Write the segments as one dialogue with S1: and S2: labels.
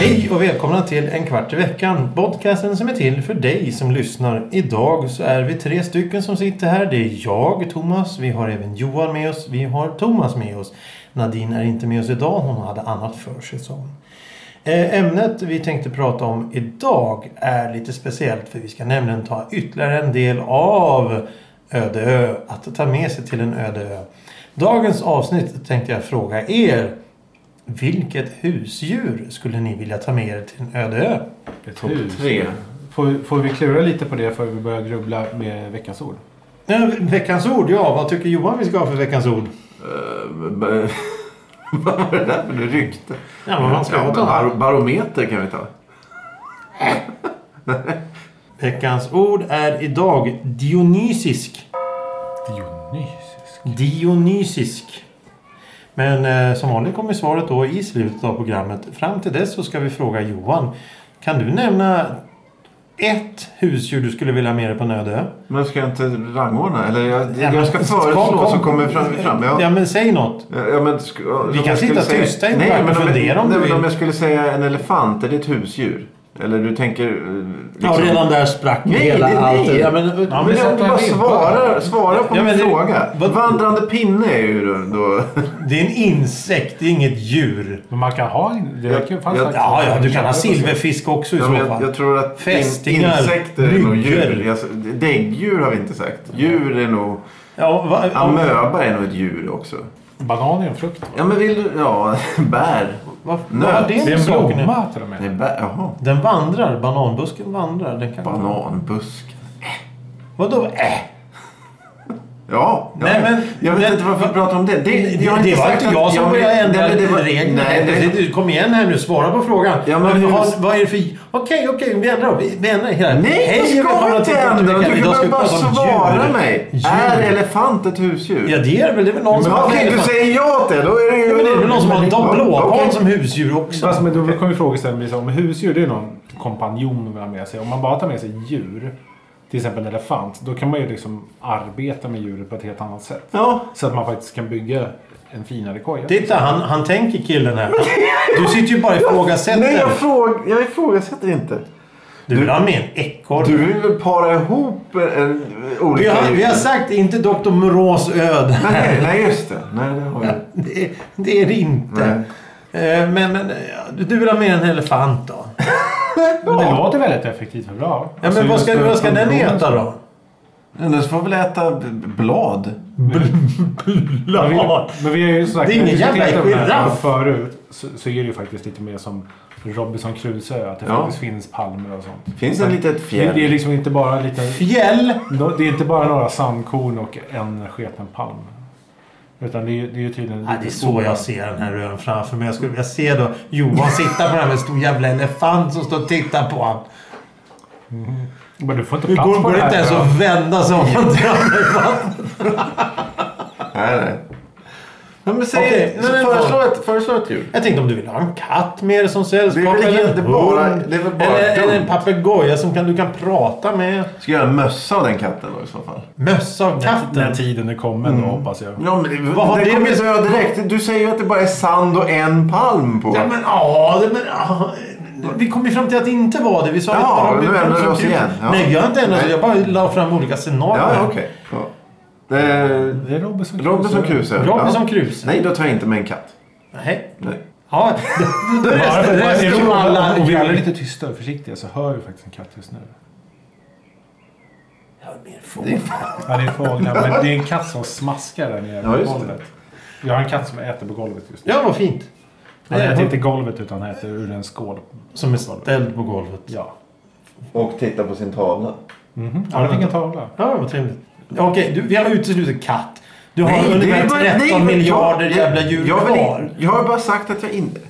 S1: Hej och välkomna till En kvart i veckan. Podcasten som är till för dig som lyssnar. Idag så är vi tre stycken som sitter här. Det är jag, Thomas. Vi har även Johan med oss. Vi har Thomas med oss. Nadine är inte med oss idag. Hon hade annat för sig sa hon. Eh, Ämnet vi tänkte prata om idag är lite speciellt för vi ska nämligen ta ytterligare en del av Öde ö. Att ta med sig till en öde ö. Dagens avsnitt tänkte jag fråga er vilket husdjur skulle ni vilja ta med er till en öde ö?
S2: Topp
S3: Hus.
S2: tre.
S3: Får, får vi klura lite på det för vi börjar grubbla med veckans ord?
S1: Ja, veckans ord, ja. Vad tycker Johan vi ska ha för veckans ord?
S2: Eh, b- Vad var det där för något rykte?
S1: Ja, men man ska ha
S2: Ja,
S1: den här.
S2: bar- barometer kan vi ta.
S1: Veckans ord är idag dionysisk.
S3: Dionysisk.
S1: Dionysisk. Men eh, som vanligt kommer svaret då i slutet av programmet. Fram till dess så ska vi fråga Johan. Kan du nämna ett husdjur du skulle vilja ha med dig på en öde ö?
S2: Men ska jag inte rangordna? Eller jag,
S1: Ja, men-
S2: jag ska föreslå
S1: kom, kom.
S2: så kommer vi fram. fram.
S1: Ja.
S2: Ja.
S1: men säg något.
S2: Ja, men, sk- ja,
S1: Vi kan
S2: om jag
S1: sitta
S2: skulle
S1: tysta i en
S2: Nej,
S1: kvart och
S2: men
S1: fundera om
S2: nej,
S1: du
S2: men
S1: vill.
S2: Om jag skulle säga en elefant, är det ett husdjur? Eller du tänker... eh, Liksom...
S1: Ja, redan där sprack
S2: Nej,
S1: hela
S2: nej,
S1: allt.
S2: nej.
S1: Ja, men,
S2: Ja, men om du bara svarar, svarar på
S1: Ja, men
S2: min
S1: det-
S2: fråga.
S1: vad-
S2: Vandrande pinne är ju då- då...
S1: Det är en insekt, det är inget djur.
S3: Men man kan ha en... Det
S2: Jag-
S3: räcker ju fan
S2: jag-
S3: sagt-
S1: Ja, ja, du kan ha silverfisk också i
S2: Ja,
S1: så
S2: men jag,
S1: fall.
S2: jag tror att in,
S1: Fästingar,
S2: insekter är nog djur.
S1: myggor.
S2: Alltså, däggdjur har vi inte sagt. Djur är nog...
S1: Ja, va, ja,
S2: Amöba är nog ett djur också.
S3: Banan är en frukt.
S2: Ja men vill du... Ja, bär.
S1: va, vad
S2: Nöt.
S1: har det
S3: Det
S1: med
S3: är en
S1: saken nu?
S3: blomma till och med.
S2: Nej, bär. Jaha.
S1: Den vandrar, bananbusken vandrar. Den kan...
S2: Bananbusk.
S1: Vadå? Äh.
S2: Ja, ja.
S1: Nej, men-
S2: jag vet
S1: men-
S2: inte varför vi pratar om det. Det,
S1: Det,
S2: jag har
S1: det var
S2: sagt
S1: inte
S2: att-
S1: jag som
S2: men-
S1: började ändra
S2: nej, men det var-
S1: reglerna.
S2: Nej,
S1: Det-
S2: nej,
S1: det- Kom igen här nu, svara på frågan.
S2: Ja, men
S1: vad,
S2: hur-
S1: har- vad är det för... Okej, okej, vi ändrar. Vi, vi ändrar hela...
S2: nej
S1: Hej,
S2: jag
S1: välkomna
S2: ska
S1: till
S2: inte
S1: Kulturveckan.
S2: ändra. Du
S1: Idag ska
S2: kan
S1: vi
S2: bara
S1: prata om
S2: svara
S1: djur.
S2: mig.
S1: Djur.
S2: Är elefant ett husdjur?
S1: Ja, det är det väl. Det är väl någon som
S2: men
S1: har...
S2: okej, du säger ja till det. Då är det ju...
S1: Ja, men det är väl någon som har en blåval
S2: Okej.
S1: som husdjur också.
S3: Fast men då kommer ju frågeställningen om husdjur. liksom, Det är någon kompanjon man har med sig. Om man bara tar med sig djur, till exempel en elefant, då kan man ju liksom arbeta med djuret på ett helt annat sätt.
S2: Ja,
S3: Så att man faktiskt kan bygga en finare koja.
S1: Titta, han, han tänker killen här. Du sitter ju bara och
S2: Nej, jag,
S1: ifrågasätter.
S2: fråg, jag ifrågasätter inte.
S1: Du vill ha med en ekorre.
S2: Du vill väl para ihop en, en,
S1: Vi
S2: olika
S1: har,
S2: djur?
S1: vi har sagt inte Dr. Moreaus öde.
S2: Nej, nej, just det. Nej, det har vi.
S1: Det, det är det inte. Eh, Men, men eh, du vill ha med en elefant då?
S3: Men det låter väldigt effektivt och bra. Alltså,
S1: Ja, men vad ska, vad ska den äta då?
S2: Men Den får väl äta b- blad.
S3: Men vi, men vi har ju sagt,
S1: Det är ingen
S3: när vi
S1: jävla
S3: diskuterat de här
S1: giraff.
S3: Förut så, så är det ju faktiskt lite mer som Robinson Crusoe. Att det
S2: Ja.
S3: faktiskt finns palmer och sånt.
S2: Finns det en litet
S3: Det, det är
S2: fjäll?
S3: liksom inte bara lite...
S1: Fjäll.
S3: no- Det är inte bara några sandkorn och en sketen palm. Utan det är, ju- det är ju tydligen...
S1: Ja, det är så jag ser den här ön framför mig. Jag skulle vilja se då Johan sitta på den här med en stor jävla elefant som står och tittar på honom.
S3: Men du får inte
S1: Det
S3: plats
S1: går,
S3: på
S1: går
S3: det
S1: inte
S3: här.
S1: ens
S3: tror jag.
S1: att vända sig om man drar i vattnet.
S2: Nej, nej. Ja, men säg,
S1: Okej,
S2: så
S1: men-
S2: föreslå, ett, föreslå ett djur.
S1: Jag tänkte om du vill ha en katt med dig som sällskap.
S2: Det är väl
S1: eller en
S2: inte
S1: hund,
S2: bara- det är väl bara
S1: eller, eller en
S2: dumt.
S1: papegoja som kan, du kan prata med.
S2: Ska jag göra en mössa av den katten då i så fall?
S1: Mössa av
S3: När
S1: katten.
S3: tiden är kommen
S1: Mm.
S3: då hoppas jag.
S2: Ja, men det,
S1: Vad har
S2: den
S1: det
S2: kommer
S1: med-
S2: ju dö direkt. Du säger ju att det bara är sand och en palm på.
S1: Ja men ja, det, men, ja. Vi kom ju fram till att det inte var det. Vi sa
S2: Ja,
S1: att det bara
S2: nu
S1: var-
S2: ändrar vi oss igen. Ja.
S1: Nej, vi har inte ändrat oss.
S2: Nej.
S1: Jag bara la fram olika scenarier.
S2: ja, okej. Ja. Eh,
S3: Det är Robinson Crusoe.
S2: Robinson Crusoe.
S1: Robinson
S2: Ja.
S1: Crusoe.
S2: Nej, då tar jag inte med en katt.
S1: Nej.
S2: Nej.
S1: Ja, det
S3: Bara- bara-
S1: resten av alla...
S3: Om vi alla är
S1: djur-
S3: lite tysta och försiktiga så hör vi faktiskt en katt just nu. Ja, det är fåglar. Men det är en katt som smaskar där nere
S2: Ja,
S3: på
S2: just det.
S3: golvet. Jag har en katt som äter på golvet just nu.
S1: Ja, vad fint.
S3: Han
S1: Det är
S3: äter
S1: hon-
S3: inte golvet utan han äter ur en skål.
S1: Som är ställd på golvet.
S3: Ja.
S2: Och titta på sin tavla.
S3: Mhm. Han fick en tavla.
S1: Ja, vad trevligt. Okej, du, vi har uteslutit katt. Du har
S2: det är
S1: ungefär
S2: bara-
S1: 13
S2: nej, men
S1: miljarder
S2: jag-
S1: jävla djur
S2: jag, vill
S1: kvar.
S2: inte- Jag har bara sagt att jag inte...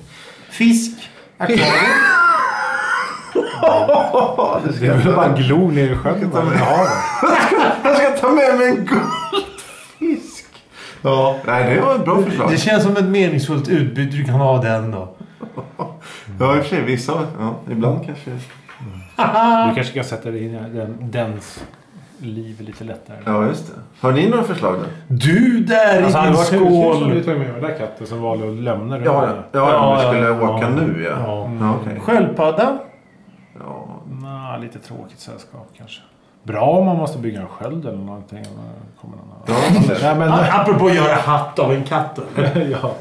S1: Fisk.
S2: Du ska
S3: Det är väl bara en glor ner i sjön. man vill ha den.
S2: Jag ska ta med mig en guldfisk.
S1: Ja.
S2: Nej, det var ett bra förslag.
S1: Det känns som ett meningsfullt utbyte du kan ha den då.
S2: Ja, i och för sig. Vissa. Ja, ibland kanske.
S3: Du kanske kan sätta dig in i den, dens liv lite lättare.
S2: Ja, just det. Har ni några förslag då?
S1: Du där
S3: Alltså
S1: i
S3: hade
S1: din
S3: det varit husdjur så hade du
S1: skål!
S3: tagit med den där katten som valde att lämna den.
S2: Ja, ja,
S1: Ja,
S2: ja, vi
S1: ja,
S2: skulle
S1: ja.
S2: åka nu ja.
S1: Ja. Mm.
S2: ja okej.
S1: Sköldpadda?
S2: Ja.
S3: Nja, lite tråkigt sällskap kanske. Bra om man måste bygga en sköld eller någonting. eller Kommer någon annan.
S2: Ja,
S3: Nej, men,
S1: Ah, Apropå att göra hatt av en katt. då.
S3: ja.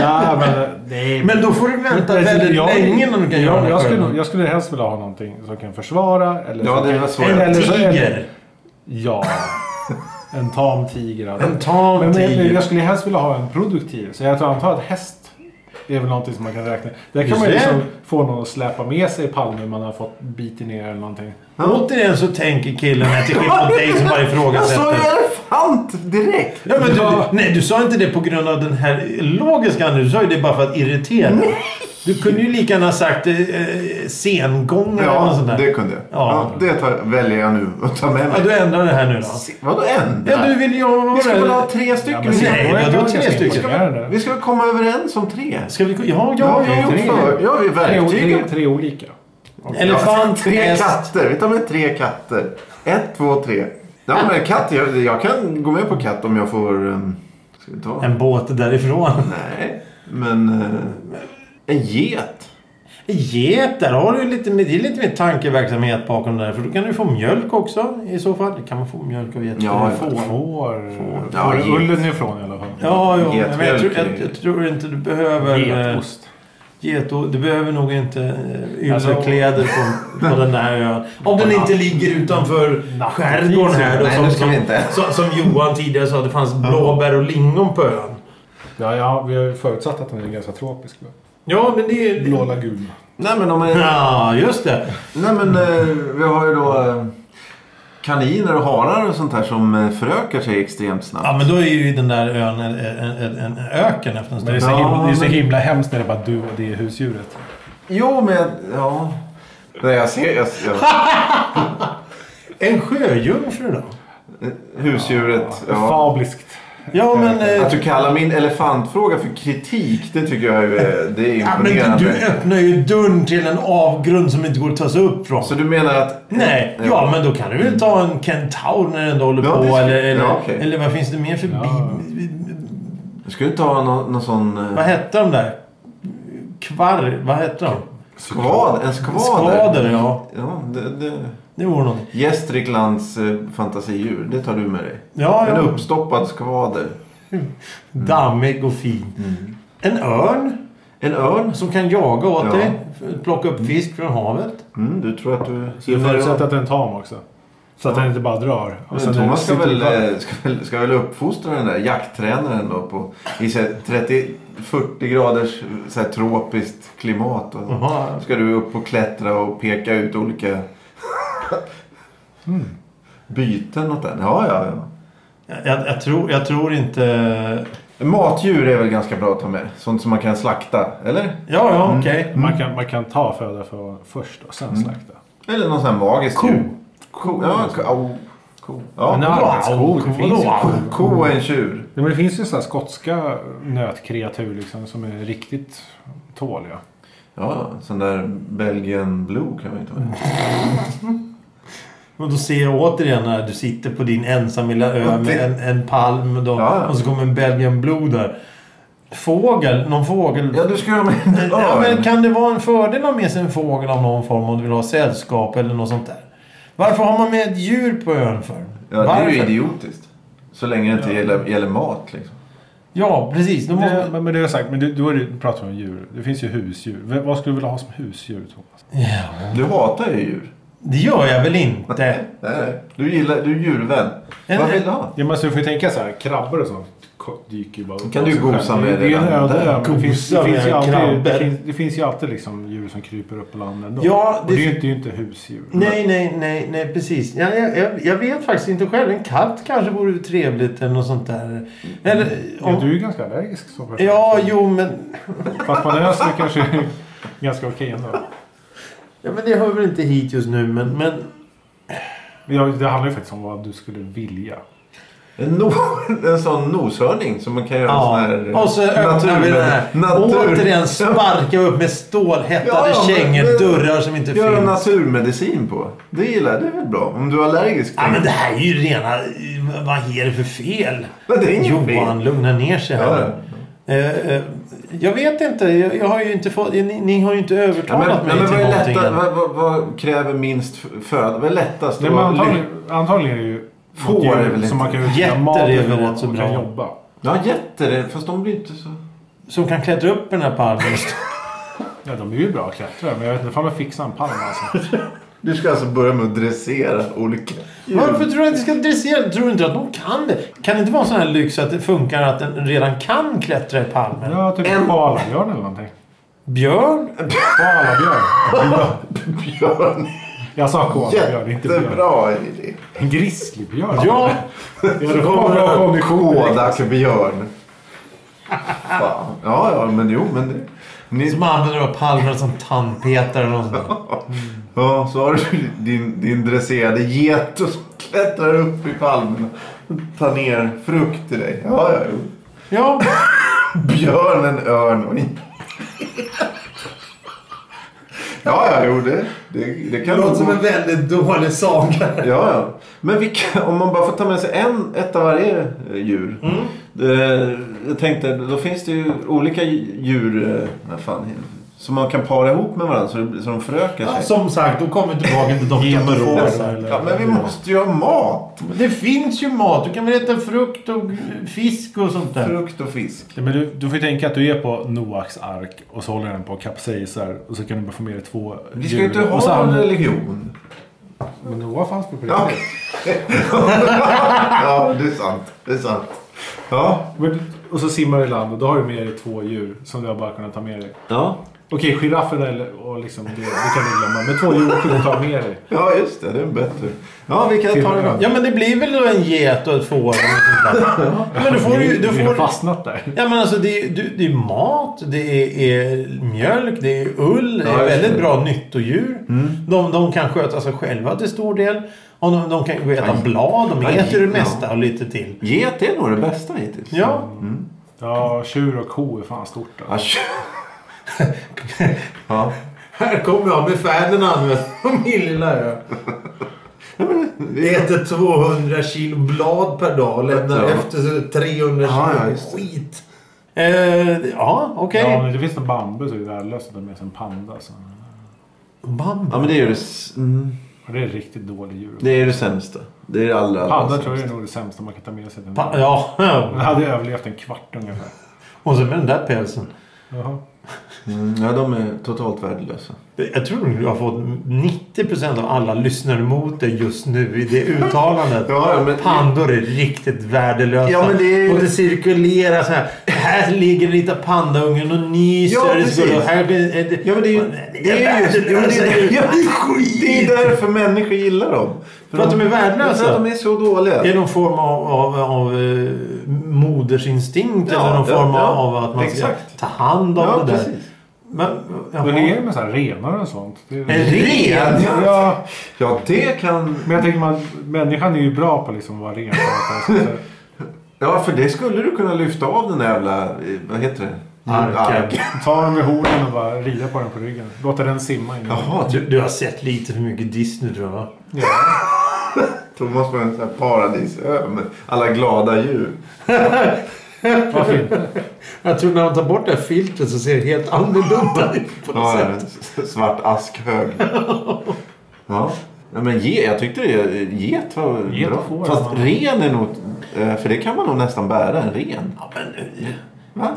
S3: ja, men det är...
S1: Men då får du vänta väldigt länge innan du kan göra
S3: jag,
S1: den här
S3: jag, skulle,
S1: själv.
S3: nog- jag skulle helst vilja ha någonting som kan försvara. Eller
S2: Ja,
S3: som
S2: det
S3: kan,
S2: var svårt.
S3: eller
S1: En
S3: så-
S1: tiger.
S3: Ja. En tam tiger. alltså.
S1: En tam
S3: men, men,
S1: tiger.
S3: Jag skulle helst vilja ha en produktiv. Så jag antar att häst är väl någonting som man kan räkna. Där kan
S1: Just
S3: man ju
S1: det.
S3: liksom få någon att släpa med sig palmen man har fått bitit ner eller någonting.
S1: Återigen så tänker killen här till skillnad från dig som bara
S2: Jag sa ju
S1: ifrågasätter.
S2: elefant direkt!
S1: Ja, men
S3: Ja.
S1: du, nej, du sa inte det på grund av den här logiska nu. Du sa ju det bara för att irritera. Du kunde ju lika gärna ha sagt eh, eh, sengång eller något sånt
S2: Ja,
S1: där.
S2: det kunde jag.
S1: Ja.
S2: Ja. det tar, väljer jag nu att ta med
S1: Ja,
S2: mig.
S1: du ändrar det här nu då.
S2: Vadå en?
S1: Ja, du vill ju
S2: Vi ska väl
S1: ha...
S2: ha tre
S3: Ja,
S2: stycken?
S3: men
S2: Vi ska-
S1: nej,
S3: sengången
S1: vadå
S3: kan vara
S1: tre
S3: ganska
S1: stycken?
S3: imponerande.
S2: vi ska väl komma överens om tre?
S1: Ska vi... Ja,
S2: Ja,
S1: ja,
S2: vi har
S1: ja.
S2: gjort för. Ja, vi är
S3: Tre, tre,
S2: verktygen.
S3: tre olika.
S1: Elefant,
S2: Tre
S1: häst.
S2: katter. Vi tar med tre katter. Ett, två, tre. Ja, men katt. Jag, jag kan gå med på katt om jag får... ehm, Ska vi ta?
S1: En båt därifrån.
S2: Nej, men... eh, En get.
S1: Get, där har du lite, mer- det är lite mer tankeverksamhet bakom det där. För då kan du få mjölk också i så fall. Kan man få mjölk av get?
S2: Ja,
S1: Eller får.
S2: ja.
S3: Får... Får ja,
S2: Ja, get.
S3: ullen ifrån i alla fall.
S1: Ja, jo,
S2: Getmjölk
S1: men jag, tror,
S2: är-
S1: jag, jag tror inte du behöver... eh,
S3: Getost.
S1: Geto, du behöver nog inte eh, ylla
S3: Alltså-
S1: kläder på, på den här ön. Om den inte ligger utanför skärgården här då,
S2: Nej,
S1: som,
S2: det ska vi
S1: som,
S2: inte.
S1: som, som Johan tidigare sa, det fanns blåbär och lingon på ön.
S3: Ja, ja, vi har ju förutsatt att den är ganska tropisk. va?
S1: Ja, men det är...
S3: Blå lagun.
S2: Nej, men om en...
S1: Ja, just det.
S2: Nej, men eh, vi har ju då... eh, Kaniner och harar och sånt här som eh, förökar sig extremt snabbt.
S1: Ja, men då är ju den där ön en, en, en, en öken efter en
S3: Men det
S1: stund.
S3: är så
S2: Ja,
S3: himla, det är så
S2: men-
S3: himla hemskt när det är bara du och det husdjuret.
S2: Jo, men... Ja. Nej, jag ser... Jag, jag,
S1: En sjöjungfru då?
S2: husdjuret. Ja.
S3: Fabliskt.
S1: Ja, men... eh,
S2: Att du kallar min elefantfråga för kritik, det tycker jag är, eh, det är
S1: Ja, men
S2: imponerande.
S1: du öppnar ju dörren till en avgrund som inte går att ta sig upp från.
S2: Så du menar att...
S1: Nej, ja, men då kan du väl ta en kentaur när den ändå håller
S2: Mm. Ja,
S1: på.
S2: det ska-
S1: eller, eller,
S2: ja, okej.
S1: eller vad finns det mer för bi...
S3: Ja.
S2: Du skulle ta någon, någon sån... eh,
S1: Vad hette de där? Kvarr... Vad hette de?
S2: Skvad? En skvader?
S1: Skvader, ja.
S2: Ja, det... det.
S1: Det vore någonting.
S2: Gästriklands eh, fantasidjur, det tar du med dig.
S1: Ja,
S2: En Mm.
S1: ja.
S2: uppstoppad skvader.
S1: Dammig och fin. En örn
S2: En örn?
S1: som kan jaga åt
S2: Mm. Ja.
S1: dig. Plocka upp fisk från havet.
S2: Mm, du tror att du...
S3: Så du förutsätter att den är en tam också? Så att
S2: Ja.
S3: den inte bara drar? Och
S2: Men
S3: sen
S2: Thomas ska
S3: sitter
S2: väl,
S3: den kvar.
S2: eh, ska, väl, ska väl uppfostra den där jakttränaren då på i så här 30-40 graders så här tropiskt klimat. Och
S1: Jaha.
S2: ska du upp och klättra och peka ut olika byten åt den. Ja, ja, ja.
S1: Jag, jag, jag, tror, jag tror inte...
S2: Matdjur är väl ganska bra att ta med? Sånt som man kan slakta, eller?
S1: Ja,
S2: Mm.
S1: ja, okej.
S3: Man, kan, man kan ta föda för först och sen slakta.
S2: Eller någon sån här magisk
S1: Ko.
S2: djur. Ko. Ja, ko. au. ko. Ja.
S3: Men det
S2: Men
S3: är arbetsko.
S1: Wow,
S3: Det finns ju
S1: wow.
S3: ko.
S2: ko är en tjur.
S3: Nej, men det finns ju sådana skotska nötkreatur liksom, som är riktigt tåliga.
S2: Ja, sån där Belgian Blue kan man ju ta med.
S1: Och då ser jag återigen när du sitter på din ensam lilla ö
S2: Och det-
S1: med en, en palm då,
S2: Ja, ja.
S1: och så kommer en Belgian Blue där. Fågel, någon fågel.
S2: Ja, du ska ju ha med en örn.
S1: Ja, men kan det vara en fördel att ha med sig en fågel av någon form om du vill ha sällskap eller något sånt där? Varför har man med ett djur på ön för?
S2: Ja, det är ju
S1: Varför?
S2: idiotiskt. Så länge det inte gäller, gäller mat liksom.
S1: Ja, precis. Då
S3: Det,
S1: måste...
S3: men, men det har jag sagt, men det, då är det, pratar vi om djur. Det finns ju husdjur. V- vad skulle du vilja ha som husdjur Thomas?
S1: ja,
S2: Du hatar ju djur.
S1: det gör jag väl inte?
S2: Nej, nej. Du gillar, du är djurvän.
S1: En-
S2: Vad vill du ha?
S3: Ja, men så du får ju tänka så här, krabbor och sånt ko- dyker ju bara upp.
S2: Kan du
S3: av sig själv.
S2: gosa med
S3: det? Det är en
S2: redan
S3: öde
S2: där?
S3: ö, men det finns, det
S1: Gosa
S3: finns ju
S1: med
S3: alltid,
S1: krabbor.
S3: det finns, det finns ju alltid liksom djur som kryper upp på land ändå.
S1: Ja,
S3: och det,
S1: det-
S3: är ju inte, det är ju inte husdjur.
S1: Nej, nej, nej, nej, precis. Jag, jag, jag, jag vet faktiskt inte själv. En katt kanske vore trevligt eller något sånt där. Eller...
S3: Ja,
S1: Om...
S3: du är ju ganska allergisk som person.
S1: Ja, jo, men...
S3: Fast på en ö så är det kanske är ganska okej ändå.
S1: Ja, men det hör väl inte hit just nu, men... men
S3: Men jag- Det handlar ju faktiskt om vad du skulle vilja.
S2: En, no, en sån noshörning som man kan göra
S1: Ja.
S2: en sån här...
S1: Och så öppnar vi den här.
S2: natur-
S1: Återigen sparkar vi upp med stålhättade
S2: Ja, men-
S1: kängor. Dörrar som inte
S2: Göra
S1: finns.
S2: naturmedicin på. Det gillar jag. Det är väl bra? Om du är allergisk.
S1: Ja, men det här är ju rena... Vad är det för fel?
S2: Men det är inget
S1: Johan,
S2: fel.
S1: lugna ner sig här
S2: Ja,
S1: nu. Eh, eh, Jag vet inte. Jag, jag har ju inte fått, ni, ni har ju inte
S2: Ja,
S1: övertalat
S2: men, ja,
S1: mig
S2: men
S1: till
S2: vad, är
S1: någonting.
S2: lättast,
S1: än.
S2: vad, vad, vad kräver minst f- föda? Vad är lättast?
S3: Nej, men
S2: att vara
S3: antagligen,
S2: lyck-
S3: antagligen är det ju
S2: Får
S3: något djur
S2: är väl inte-
S3: som man kan utvinna
S1: Getter
S3: mat
S1: är väl
S3: ifrån
S1: rätt så
S3: och
S1: bra.
S3: kan jobba.
S2: Ja, getter. är- Fast de blir inte så...
S1: Som kan klättra upp i den här palmen.
S3: Ja, de är ju bra klättrare, men jag vet inte om de fixar en palm alltså.
S2: Du ska alltså börja med att dressera olika
S1: Varför tror du att de ska dressera? Tror du inte att de kan det? Kan det inte vara en sån här lyx att det funkar att den redan kan klättra i palmen?
S3: Ja, typ
S2: En-
S3: en koalabjörn eller någonting.
S1: Björn?
S3: Koalabjörn.
S2: Björn.
S3: Jag sa koalabjörn, inte björn.
S2: Jättebra idé.
S3: En grizzlybjörn.
S1: Ja!
S3: Ja, det var bra kondition.
S2: Kodakbjörn. Fan. Ja, ja, men jo, men det... Ni,
S1: Som använder då palmen som tandpetare eller något sånt där.
S2: ja, så har du din, din dresserade get och så klättrar upp i palmen och tar ner frukt till dig. Ja, ja, jo.
S1: Ja,
S2: Björn, en örn och en... Ja, ja, jo, det, det, det kan nog gå.
S1: väldigt dålig saga.
S2: Ja, ja. Men vi kan, om man bara får ta med sig en, ett av varje eh, djur. Eh, jag tänkte, då finns det ju olika djur eh, vad fan, som man kan para ihop med varandra så, det, blir- så de förökar sig.
S1: Som sagt, då kommer vi tillbaka till
S3: Getter.
S1: Dr. Rosa.
S3: eller-
S2: Ja, men vi måste ju ha mat.
S1: Det finns ju mat. Du kan väl äta frukt och fisk och sånt där.
S2: Frukt och fisk.
S3: Ja, men du, du får ju tänka att du är på Noaks ark och så håller den på att kapsejsar och så kan du bara få med dig två
S2: Vi ska ju inte
S3: Och så
S2: ha en
S3: hamnar-
S2: religion.
S3: Men Noah fanns på
S2: Ja.
S3: riktigt.
S2: ja, det är sant. Det är sant. Ja.
S3: Men, och så simmar du i land och då har du med dig två djur som du har bara kunnat ta med dig.
S2: Ja.
S3: Okej, giraffen eller, och liksom, det, det kan du glömma. Men två djur kan du ta med dig.
S2: ja, just det. Det är bättre. Ja, vi kan
S3: Till-
S2: ta det då.
S1: Ja, men det blir väl då en get och ett får och sånt där. Men du får ju... Du
S3: Vi
S1: får,
S3: har fastnat där.
S1: ja, men alltså det är, du- det är mat, det är, är mjölk, det är ull. Det Mm. är
S2: Ja, just
S1: väldigt
S2: det.
S1: bra nyttodjur. De, de kan sköta sig själva till stor del. Och de, de kan gå och äta
S2: Ja,
S1: blad. De
S2: ja,
S1: äter det
S2: ja.
S1: mesta och lite till.
S2: Get är nog det bästa hittills.
S1: Ja.
S3: Ja, tjur och ko är fan stort. Alltså.
S2: Asch. ja.
S1: Här kommer jag med Ferdinand på min lilla ö. Äter 200 kilo blad per dag och lämnar
S2: Ja.
S1: efter sig 300 kilo
S2: Ja, ja, just det.
S1: skit. Eh, ja, okej.
S3: Ja, men det finns en bambu så är det värdelöst att ta med sig en panda. Så.
S2: ja,
S1: Bam.
S2: men det är ju det, s- mm.
S3: Och det är riktigt dåligt djur.
S2: det, är det sämsta. Det är det allra, allra
S3: Panda
S2: sämsta.
S3: tror jag är nog det sämsta man kan ta med sig. till en
S1: Pa-
S3: värld.
S1: ja,
S3: Den hade överlevt en kvart ungefär.
S1: och så med den där pälsen.
S3: Jaha.
S2: Mm, ja, de är totalt värdelösa.
S1: Jag tror du har fått 90% av alla lyssnare mot dig just nu i det uttalandet.
S2: Ja, ja, men-
S1: Pandor är riktigt värdelösa.
S2: Ja, men det är ju-
S1: Och det cirkulerar så här. Här ligger en liten pandaungen och nyser.
S2: Ja,
S1: och det skulle-
S2: precis.
S1: här blir, är det,
S2: Ja, men det är ju... Det är ju just, ja, men det, är, ja, det, är skit. det är därför människor gillar dem.
S1: För att de är värdelösa?
S2: För att de är så dåliga.
S1: Det är någon form av, av, av eh, modersinstinkt
S2: Ja,
S1: eller någon
S2: ja,
S1: form
S2: ja.
S1: av att man
S2: Exakt.
S1: ska ta hand om
S2: Ja,
S1: det där.
S2: precis.
S1: Men, eh, jaha.
S3: Men det är ju med så här renar och sånt. Det
S1: En
S3: är...
S1: ren?
S3: Ja,
S2: Ja, det kan...
S3: men jag tänker man, människan är ju bra på liksom att vara ren.
S2: Ja, för det skulle du kunna lyfta av den där jävla... eh, Vad heter det?
S1: Arken.
S3: Ta den vid hornen och bara rida på den på ryggen. Låta den simma in.
S2: Jaha,
S1: Du, du har sett lite för mycket Disney tror jag va?
S3: Ja.
S2: Thomas på en sån här paradisö med alla glada djur.
S3: Vad fint.
S1: Jag tror när man tar bort det här filtret så ser det helt annorlunda ut på något
S2: Ja,
S1: sätt.
S2: en s- svart askhög. Ja. Ja, men ge, jag tyckte det, get var
S3: Get
S2: bra.
S3: får
S2: Fast
S3: man.
S2: ren är nog... eh, För det kan man nog nästan bära, en ren.
S1: Ja, men, eh,
S2: Va?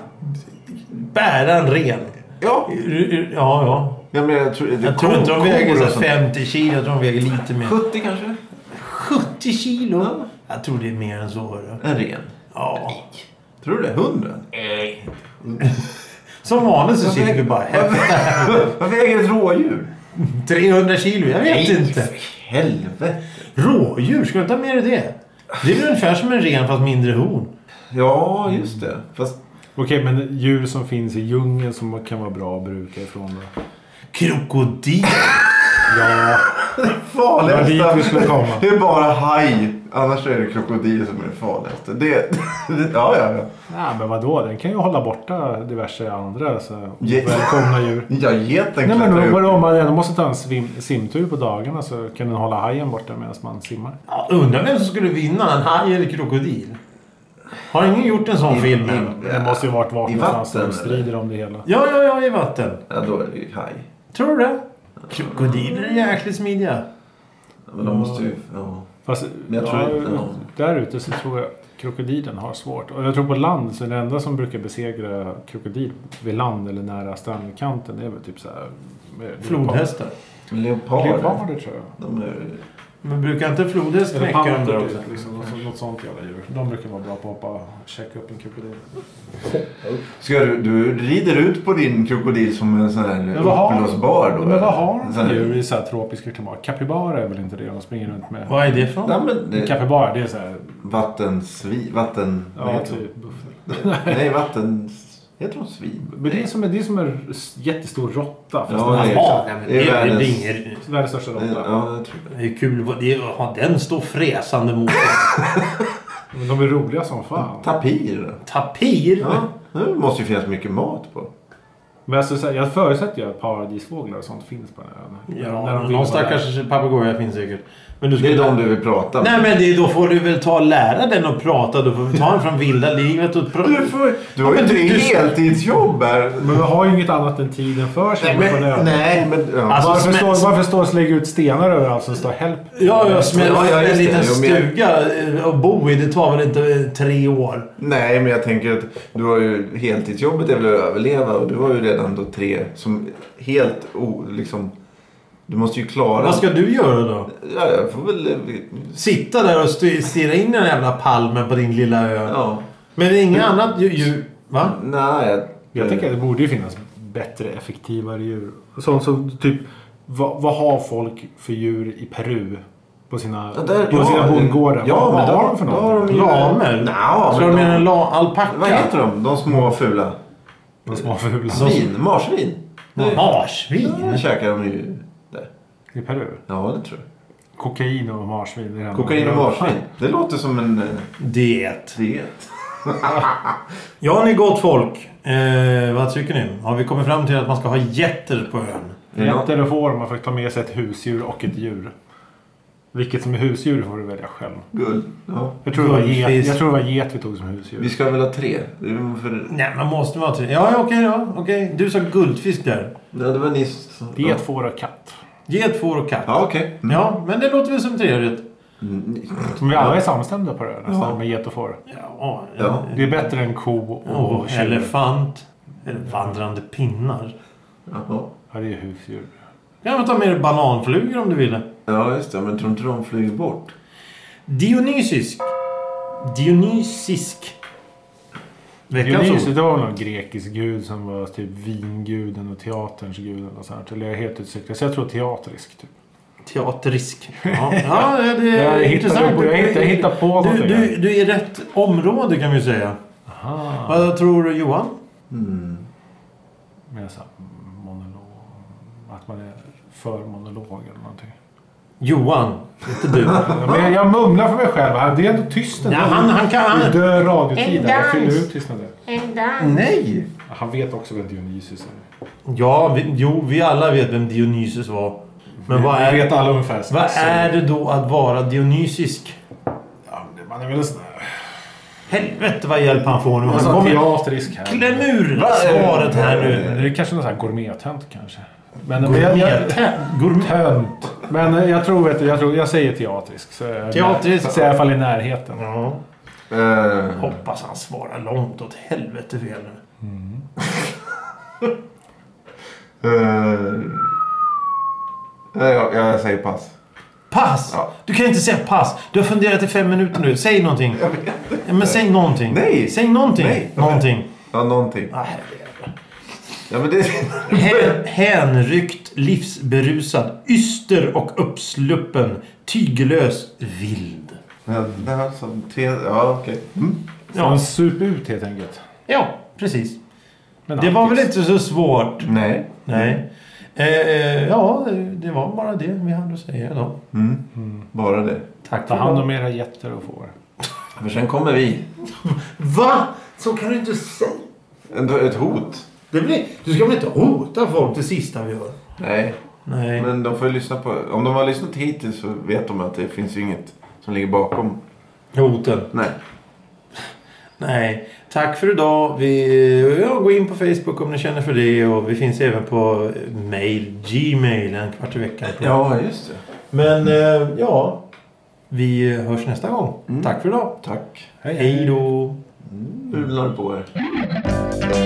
S1: bära en ren.
S2: Ja.
S1: Ja, ja.
S2: ja men jag tror, det
S1: Jag tror
S2: kor-
S1: inte de
S2: kor
S1: väger
S2: och
S1: så här
S2: sånt.
S1: 50 kilo. Jag tror de väger lite mer.
S2: 70 kanske?
S1: 70 kilo?
S2: Ja.
S1: Jag tror det är mer än så. hörru.
S2: En ren.
S1: Ja.
S2: Tror du det? 100?
S1: Som vanligt så sitter vi bara här.
S2: Vad väger ett rådjur?
S1: 300 kilo? Jag vet inte.
S2: för helvete.
S1: Rådjur? Ska du ta med dig det? Det är väl ungefär som en ren fast mindre horn?
S2: Ja, just det. Fast
S3: Okej, men djur som finns i djungeln som kan vara bra att bruka ifrån. Då.
S1: Krokodil?
S3: Ja, Det var dit vi
S2: farligaste.
S3: skulle komma.
S2: Det är bara haj. Annars är det krokodil som är det farligaste. Det... ja, ja, ja.
S3: Nej, men vadå? Den kan ju hålla borta diverse andra så
S2: Ge-
S3: välkomna djur.
S2: Ja, geten
S3: Nej, men
S2: klättrar
S3: vadå, om
S2: upp.
S3: man ändå måste ta en svim, simtur på dagarna så kan den hålla hajen borta medan man simmar.
S1: Ja, undrar vem som skulle vinna, en haj eller krokodil? Har ingen gjort en sån film än?
S3: Den Mm, måste ju varit
S2: I
S3: vaken någonstans
S2: vatten,
S3: och strider om det hela.
S1: Ja, ja, ja, i vatten.
S2: Ja, då är det ju haj.
S1: Tror du det? Krokodiler är jäkligt smidiga.
S2: Ja, Men de måste ju... Ja.
S3: Fast,
S2: Men jag tror
S3: ja,
S2: inte någon-
S3: Där ute så tror jag krokodilen har svårt. Och jag tror på land så är det enda som brukar besegra krokodil vid land eller nära strandkanten det är väl typ så här... med-
S1: Flodhästar.
S2: Leoparder.
S3: Leoparder tror jag.
S2: De är...
S1: Men brukar inte flodhäst
S3: Eller
S1: knäcka
S3: pandor
S1: under
S3: typ,
S1: också?
S3: liksom, något, något sånt jävla djur. De brukar vara bra på att hoppa och checka upp en krokodil.
S2: Ska du, du rider ut på din krokodil som en sån här
S3: Men vad har-
S2: uppblåsbar då?
S3: Men vad
S2: eller?
S3: har de
S2: En
S3: för
S2: sån här-
S3: djur i så här tropiska klimat? Kapibara är väl inte det de springer runt med?
S1: Vad är det för något?
S2: Nej, men det...
S3: Kapibara det är så här...
S2: Vattensvi... Vatten... vad
S3: Ja,
S2: heter de?
S3: typ buffel.
S2: Nej, vatten... Heter de svin?
S3: Men det är som en, det är som en jättestor råtta. Fast den
S2: Ja, det
S3: här
S2: är-
S1: Ja, nej, men
S2: det är
S1: det är
S2: världens-
S1: väl inget...
S3: Världens största råtta.
S2: Ja, jag tror det.
S1: Det är kul vad det är att ha den stå fräsande mot en
S3: Men de är roliga som fan.
S2: Tapir.
S1: tapir.
S2: Ja, det måste ju finnas mycket mat på.
S3: Men alltså, så här, jag förutsätter ju att paradisfåglar och sånt finns på den här ön.
S1: Ja,
S3: När de vill vara
S1: någon stackars papegoja finns säkert. Men du
S2: Det
S1: skulle...
S2: är de du vill prata med.
S1: Nej men det, då får du väl ta och lära den att prata. Då får vi ta den från vilda livet och... Pro...
S2: Du, får, du har ju
S1: men
S2: inte
S1: du-
S2: ett
S1: du-
S2: heltidsjobb här.
S3: där. Men vi har ju inget annat än tiden för sig. på den här ön.
S2: nej, men... Ja.
S1: Alltså,
S3: varför,
S1: smä-
S3: står, varför står och slänger ut stenar överallt som står help?
S1: Ja, jag smäller
S2: Ja, ja,
S1: upp en
S2: just det.
S1: liten
S2: Jo, men jag-
S1: stuga eh, och bo i. Det tar väl inte eh, tre år?
S2: nej, men jag tänker att du har ju... Heltidsjobbet är väl att överleva och du har ju redan då tre som helt o, liksom... Du måste ju klara...
S1: Vad ska du göra då?
S2: Ja, jag får väl...
S1: Sitta där och st- stirra in i den jävla palmen på din lilla ö?
S2: Ja.
S1: Men det är inget annat ju- ju... Va?
S2: Nej, jag...
S3: Jag tänker att
S2: Mm.
S3: det borde ju finnas bättre, effektivare djur. Sånt som typ, vad, vad har folk för djur i Peru? På sina,
S2: Ja, där-
S3: på
S2: ja,
S3: sina
S2: det-
S3: bondgårdar.
S2: ja,
S3: vad
S2: men
S3: vad
S2: då-
S3: har de för
S2: då
S3: något?
S2: har de ju-
S1: Lamer?
S2: Nja,
S1: Ska
S2: men
S1: du
S2: de-
S1: mena en la- alpacka?
S2: Vad heter de? De små fula?
S3: De små fula.
S2: Svin? Marsvin?
S1: de?
S2: Det
S1: Marsvin?
S2: käkar de ju där.
S3: I Peru.
S2: Ja, det tror jag.
S3: Kokain och marsvin. det är det enda
S2: Kokain och
S3: man-
S2: marsvin. Det låter som en eh,
S1: Det.
S2: diet.
S1: Ja, ni gott folk. Eh, vad tycker ni? Har vi kommit fram till att man ska ha getter på ön?
S3: Jätter och får man får ta med sig ett husdjur och ett djur. Vilket som är husdjur får du välja själv.
S2: Guld. Ja.
S3: Jag tror, det var get,
S1: Guldfisk.
S3: jag tror det var get vi tog som
S2: Vi
S3: husdjur.
S2: ska väl ha tre? Det är för-
S1: Nej, man måste vara tre. Ja, ja, okej då. Okej. Du sa guldfisk där.
S2: Ja, det var nyss.
S3: Get, får och katt.
S1: Get, får och katt.
S2: Ja, okej. Mm.
S1: Ja, men det låter väl som trevligt.
S3: Som vi alla är samstämda på det här, nästan,
S2: Ja.
S3: med get och får.
S1: Ja.
S2: Ja.
S3: Det är bättre än ko och
S1: Och
S3: tjur.
S1: elefant. Eller vandrande pinnar.
S2: Jaha.
S3: Ja, det är husdjur.
S1: Ja, men ta med dig bananflugor om du vill.
S2: Ja, just det. Men tror inte de flyger bort?
S1: Dionysisk. Dionysisk. Veckans
S3: Dionysus,
S1: ord.
S3: det var någon grekisk gud som var typ vinguden och teaterns gud. Eller något sånt. Eller jag är helt utsäker. Så jag tror teatrisk. Typ.
S1: Teaterisk. Ja, ja det
S3: Jag
S1: är
S3: hittar
S1: Eh, intressant.
S3: på- jag hittar- jag hittar på
S1: du,
S3: någonting
S1: du,
S3: här.
S1: du är i rätt område kan vi säga.
S3: Aha.
S1: Vad tror du Johan?
S2: Mm.
S3: Med så här monolog. Att man är för monolog eller någonting.
S1: Johan, inte du.
S3: Ja, Men jag, jag mumlar för mig själv. här. Det är ändå tyst
S1: ja,
S3: ändå.
S1: han, han kan...
S3: Det är
S1: Han,
S3: död radiotid. här. Jag fyller
S4: Dans.
S3: ut tystnaden.
S4: And done.
S2: Nej!
S3: Han vet också vem Dionysus är.
S1: ja, vi, jo, vi alla vet vem Dionysus var. Men vad
S3: Vi
S1: är,
S3: vet alla ungefär. så-
S1: vad är det då att vara dionysisk?
S3: Ja, men man är väl en sån här...
S1: Helvete vad hjälp han får nu.
S3: Han
S1: Han
S3: sa
S1: kommer...
S3: teatrisk här.
S1: Kläm ur svaret här nu.
S3: Det är kanske någon sån här gourmettönt kanske. Men, men jag, jag,
S1: Gourmet. Gourmet.
S3: tönt. Men eh, jag tror, vet du, jag, tror jag säger teatrisk. Så jag,
S1: Teatrisk.
S3: Så jag är i alla fall i närheten.
S1: Ja.
S2: Eh,
S1: Hoppas han svarar långt åt helvete fel nu.
S2: eh, jag, jag säger pass.
S1: Pass!
S2: Ja.
S1: Du kan inte säga pass. Du har funderat i fem minuter nu. Säg någonting. Ja, men säg någonting.
S2: Nej.
S1: Säg någonting.
S2: Nej.
S1: Någonting.
S2: Ja, någonting.
S1: Ah, herregud.
S2: Ja, men det...
S1: Hän- Hänryckt, livsberusad, yster och uppsluppen, tyglös, vild.
S2: Ja, det här som tre... Ja, okej. Mm.
S3: Så han sup ut helt enkelt.
S1: Ja, precis.
S3: Men
S1: Det var
S3: alkis.
S1: väl inte så svårt?
S2: Nej.
S1: Nej. Eh, eh, ja, det var bara det vi hade att säga idag.
S2: Mm. Bara det.
S1: Tack
S3: Ta
S1: för
S3: hand
S1: idag.
S3: om era getter och får.
S2: För sen kommer vi.
S1: Va? Så kan du inte säga.
S2: Ett, ett hot.
S1: Det blir, du ska väl inte hota folk det sista vi gör?
S2: Nej.
S1: Nej.
S2: Men de får ju lyssna på... Om de har lyssnat hittills så vet de att det finns ju inget som ligger bakom.
S1: Hoten.
S2: Nej.
S1: Nej, tack för idag. Vi, ja, gå in på Facebook om ni känner för det. Och vi finns även på eh, mail, Gmail, en kvart i veckan.
S2: Ja, just det.
S1: Men eh, ja, Mm. vi hörs nästa gång. Tack för idag.
S2: Tack.
S1: Hej då.
S2: Bular på er.